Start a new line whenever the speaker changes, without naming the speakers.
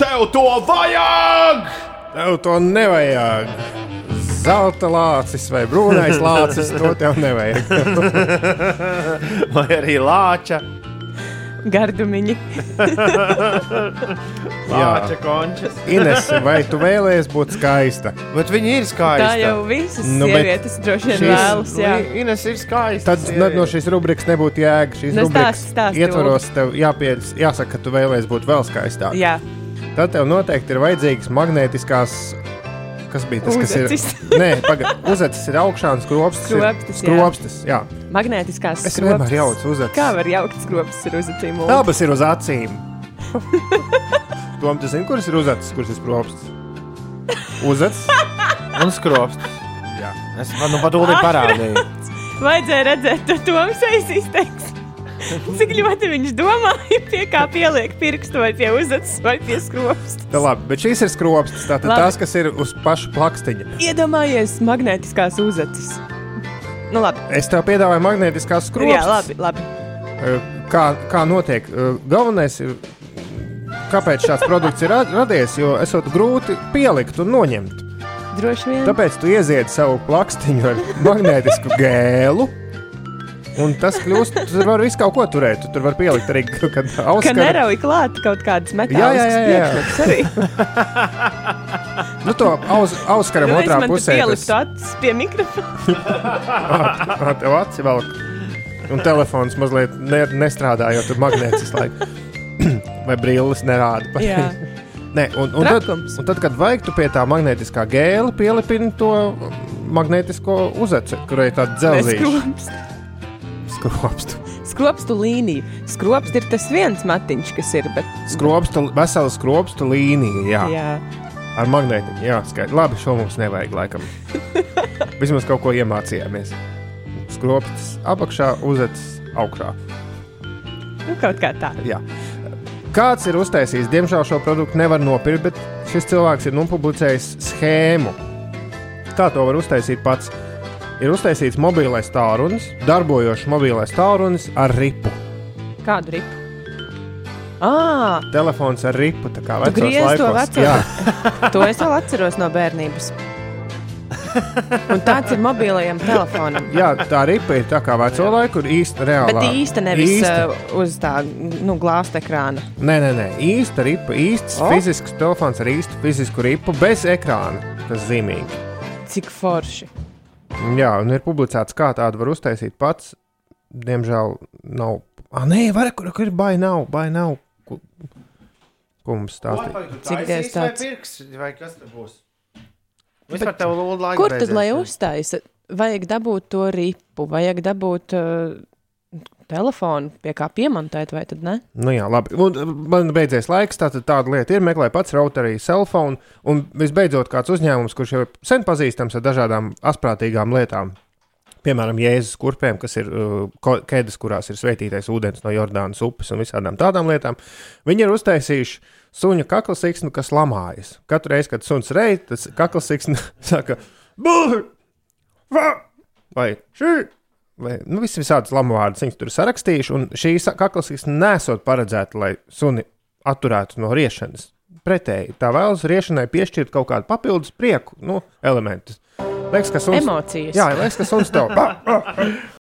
Tev to vajag!
Tev to nevajag. Zelta lācis vai brūnais lācis, to tev nevajag.
Vai arī lāča,
Gardumiņi.
lāča končas.
Ines, vai tu vēlējies būt skaista?
Bet viņi ir skaisti.
Tā jau visas
Nu,
nu,
bet
sievietes droši vien
šīs-
vēlas. Jā.
Ines ir skaisti.
Tad ne- no šīs rubrikas nebūtu jēga. Šīs
Nu,
rubrikas
stāsti, stāsti,
ietvaros tev jāpieļ, jāsaka, ka tu vēlējies būt vēl skaistāk.
jā.
Tad tev noteikti ir vajadzīgas magnētiskās. Kas bija tas, kas
Uzacis.
ir? Nē, pagaidi. Uzacis ir augšā un skropstas. ir-
Skropstas, jā.
skropstas jā.
Magnētiskās
Es vienmēr jaucu uzacis.
Kā var jaukt skropus ar uzacīm?
Abas ir uz acīm. Tom, tu zini, kuras ir uzacis, kuras ir skropstas? Uzacis?
un skropst.
Jā.
Es man nu pat ūdeni parādīju.
Vajadzēja redzēt, to Toms aiz izteiks. Cik ļoti viņš domāja, pie kā pieliek pirkstu vai pie uzacis vai pie skropus.
Tā labi, bet šīs ir skropstas. Tātad
Labi.
tās, kas ir uz paša plakstiņa.
Iedomājies magnētiskās uzacis. Nu labi.
Es tev piedāvāju magnētiskās skropstas.
Jā, labi, labi.
Kā, kā notiek? Eh, Galvenais ir, kāpēc šāds produkts ir ra- radies, jo esot grūti pielikt un noņemt.
Droši vien.
Tāpēc tu ieziedi savu plakstiņu ar magnētisku gēlu. Un tas kļūst, tur var visu kaut ko turēt. Tu tur var pielikt arī kaut kādu
Ka
auskaru.
nerauj klāt kaut kādas
Jā, jā,
metāliskas
jā, jā.
priekšmetus arī.
Nu, to aus, auskaram
Nu, es
otrā
man te
pusē.
pieliktu acis pie mikrofona.
Ā, tev acis vēl. Un telefons mazliet ne, nestrādā, jo tur magnēts visu laiku. Vai brilles nerāda.
Jā.
Nē, un, un, tad,
Trakums.
un tad, kad vajag, tu pie tā magnētiskā gēla pielipini to magnētisko uzaci, kurai ir tāda
Vai
dzelzīga
skrops.
skropsta.
Skropstu līnija. Skropst ir tas viens matiņš, kas ir. Bet,
Skropsta, vesela skropsta līnija, jā. jā.
jā.
Ar magnētiņu, jā, skaidrs. Labi, šo mums nevajag laikam. Vismaz kaut ko iemācījāmies. Skropsts apakšā, uzacis augšā.
Nu, kaut kā tā.
Jā. Kāds ir uztaisījis, diemžēl šo produktu nevar nopirkt, bet šis cilvēks ir nopublicējis schēmu. Kā to var uztaisīt pats? Ir uztaisīts mobilais tālrunis, darbojošs mobilais tālrunis ar ripu.
Kādu ripu? Ah,
Telefons ar ripu, tā kā vecos
griez to
laikos.
veco.
Jā,
to es vēl atceros no bērnības. Un tāds ir mobilajam telefonam.
jā, tā ripa ir tā kā veco laiku, ir īsta reāla.
Bet īsta nevis uh,
Īsta.
īsta. uz tā nu, glāsta ekrāna.
Nē, nē, nē, īsta ripa, īsts
O.
oh. fizisks telefons ar īstu fizisku ripu bez ekrāna. Tas zīmīgi.
Cik forši.
Jā, un ir publicēts, kā tādu var uztaisīt pats. Diemžēl nav. Ah, nē, var, kur, kur ir bail, nav, bail, nav. Ko, ko mums stāstīt?
Cik dievs tāds?
Pirks, vai kas tur būs? Vispār tev lūdzu laiku.
Kur tad
beidzies.
lai uztaisa? Vajag dabūt to ripu, vajag dabūt uh, telefonu, pie kā piemontēt, vai tad ne?
Nu, jā, labi. Un, uh, man beidzies laiks, tātad tāda lieta ir. Meklēju pats rautarī, telefonu. Un visbeidzot, kāds uzņēmums, kurš jau ir sen pazīstams ar dažādām asprātīgām lietām. Piemēram, Jēzus kurpēm, kas ir uh, ko- ķēdes, kurās ir sveitītais ūdens no Jordānas upes un visādām tādām lietām. Viņi ir uztaisījuši suņa kaklasiksnu, kas lamājas. Katru reizi, kad suns reizes, tas kaklasiksns saka, buļbuļs, vai šī. Vai, nu, visi visādas lamu vārdus viņi tur sarakstījuši, un šī sa- kaklasiksna nesot paredzēta, lai suni atturētu no riešanas. Pretēji, tā vēlas riešanai piešķirt kaut kādu papildus prieku, nu, elementus. Liekas, ka suns,
Emocijas.
Jā, liekas, ka suns tev. Ba, ba,